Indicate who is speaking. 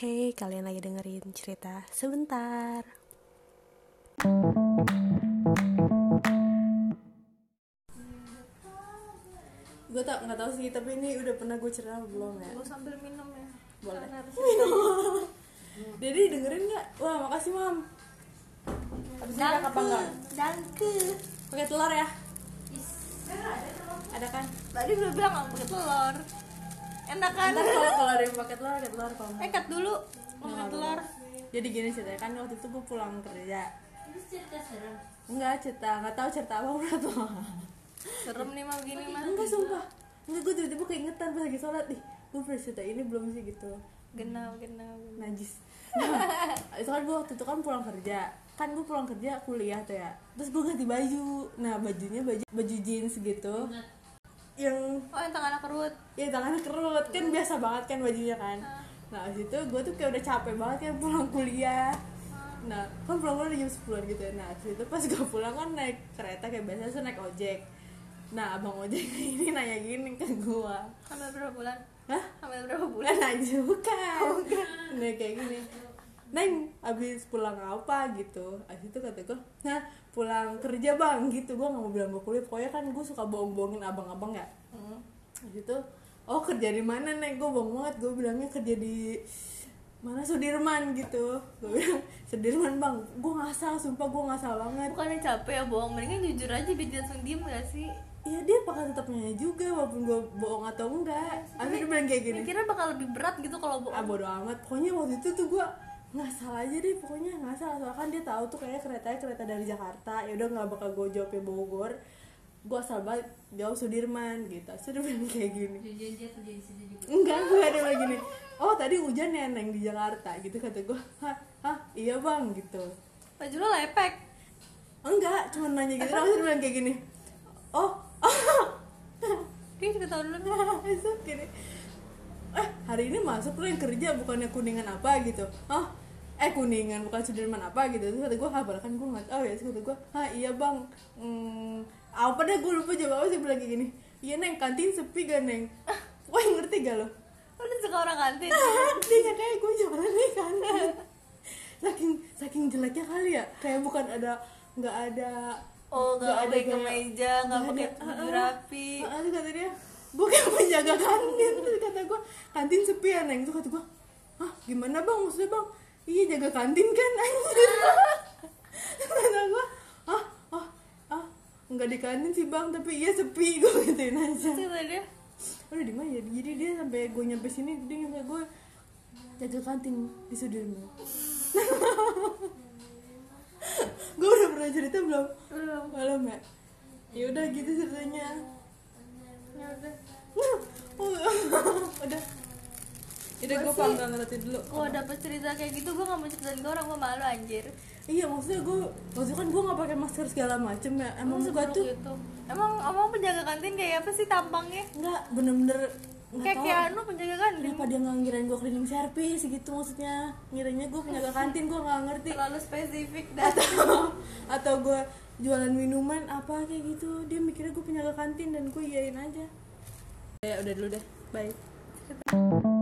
Speaker 1: Hey, kalian lagi dengerin cerita sebentar. Gue tak nggak tahu sih, tapi ini udah pernah gue cerita belum ya?
Speaker 2: Lo sambil minum ya.
Speaker 1: Boleh.
Speaker 2: Karena harus-
Speaker 1: Jadi dengerin nggak? Wah, makasih mam. Abis ini
Speaker 2: Danke.
Speaker 1: apa enggak?
Speaker 2: Danke.
Speaker 1: Pakai telur ya?
Speaker 2: Is.
Speaker 1: Ada kan?
Speaker 2: Tadi gue bilang nggak pakai telur. Enak kan?
Speaker 1: Ntar kalau kalau ada yang pakai telur, ada telur kalau nggak.
Speaker 2: Eh cut dulu. Mau pakai telur.
Speaker 1: Jadi gini ceritanya kan waktu itu gue pulang kerja. Enggak cerita, nggak tahu cerita apa udah tuh.
Speaker 2: Serem nih mah begini mah.
Speaker 1: enggak sumpah enggak gue tiba-tiba keingetan pas lagi sholat nih gue pernah cerita ini belum sih gitu
Speaker 2: Genau, genau. genau.
Speaker 1: najis nah, itu kan gue waktu itu kan pulang kerja kan gue pulang kerja kuliah tuh ya terus gue ganti baju nah bajunya baju baju jeans gitu yang
Speaker 2: Oh yang tangan kerut.
Speaker 1: ya tangannya kerut kan biasa banget kan bajunya kan nah abis itu gue tuh kayak udah capek banget kan pulang kuliah nah kan pulang kuliah udah jam 10 gitu ya nah abis itu pas gue pulang kan naik kereta kayak biasa terus naik ojek nah abang ojek ini nanya gini ke gue
Speaker 2: Hamil berapa bulan?
Speaker 1: hah
Speaker 2: Hamil berapa bulan?
Speaker 1: bulan aja bukan nah kayak gini Neng, abis pulang apa gitu Abis itu kata gue, nah pulang kerja bang gitu Gue gak mau bilang gue kuliah, pokoknya kan gue suka bohong-bohongin abang-abang ya Habis itu, oh kerja di mana nih? Gue bohong banget, gue bilangnya kerja di mana Sudirman gitu Gue bilang, Sudirman bang, gue ngasal, sumpah gue ngasal banget
Speaker 2: Bukannya capek ya bohong, mendingan jujur aja biar dia langsung diem gak sih?
Speaker 1: Ya dia bakal tetap nyanyi juga, walaupun gue bohong atau enggak Abis itu dia bilang kayak gini
Speaker 2: Mikirnya bakal lebih berat gitu kalau
Speaker 1: Ah
Speaker 2: bohong
Speaker 1: bodo amat, pokoknya waktu itu tuh gue ngasal aja deh pokoknya ngasal soalnya kan dia tahu tuh kayaknya keretanya kereta dari Jakarta ya udah nggak bakal gue jawabnya Bogor gue asal banget jauh Sudirman gitu Terus dia bilang kayak gini enggak gue ada lagi nih oh tadi hujan ya neng di Jakarta gitu kata gue hah hah iya bang gitu
Speaker 2: Baju lo lepek
Speaker 1: enggak cuma nanya gitu terus dia bilang kayak gini oh
Speaker 2: Dia juga tau dulu nih.
Speaker 1: Terus gini eh hari ini masuk lo yang kerja bukannya kuningan apa gitu oh eh kuningan bukan Sudirman apa gitu terus kata gue kabar kan gue nggak tahu ya terus kata gue ah iya bang hmm, apa deh gue lupa jawab apa sih bilang kayak gini iya neng kantin sepi gak neng wah ngerti gak lo
Speaker 2: Lo udah suka orang kantin
Speaker 1: dia nggak kayak gue jualan di kantin kan. saking saking jeleknya kali ya kayak bukan ada nggak ada
Speaker 2: Oh
Speaker 1: nggak Ah,
Speaker 2: gak pakai
Speaker 1: gaya-
Speaker 2: kemeja, gak pakai baju rapi
Speaker 1: Heeh, terus kata dia, gue kayak penjaga kantin Terus kata gue, kantin sepi ya Neng Terus kata gue, hah gimana bang? Maksudnya bang, iya jaga kantin kan anjir Terus kata gue, hah, hah, hah Nggak di kantin sih bang, tapi iya sepi Gue gituin aja
Speaker 2: Terus kata dia
Speaker 1: Udah di mana ya? Jadi dia sampai gue nyampe sini, dia nyampe gue jaga kantin di Sudirman Gue udah pernah cerita belum?
Speaker 2: Belum
Speaker 1: Belum ya? Ya udah gitu ceritanya
Speaker 2: Ya udah
Speaker 1: udah
Speaker 2: Ya
Speaker 1: udah gue paham gak ngerti dulu
Speaker 2: Kalau dapet cerita kayak gitu gue gak mau ceritain ke orang, gue malu anjir
Speaker 1: iya maksudnya gue maksudnya kan gue gak pakai masker segala macem ya emang gue
Speaker 2: Seburuk
Speaker 1: tuh
Speaker 2: itu. Emang emang penjaga kantin kayak apa sih tampangnya?
Speaker 1: nggak bener-bener nggak
Speaker 2: Kayak
Speaker 1: tahu
Speaker 2: Keanu penjaga kantin
Speaker 1: kenapa dia nggak ngirain gue cleaning service gitu maksudnya ngiranya gue penjaga kantin gue nggak ngerti
Speaker 2: Terlalu spesifik dan
Speaker 1: atau gue jualan minuman apa kayak gitu dia mikirnya gue penjaga kantin dan gue iyain aja ya udah dulu deh bye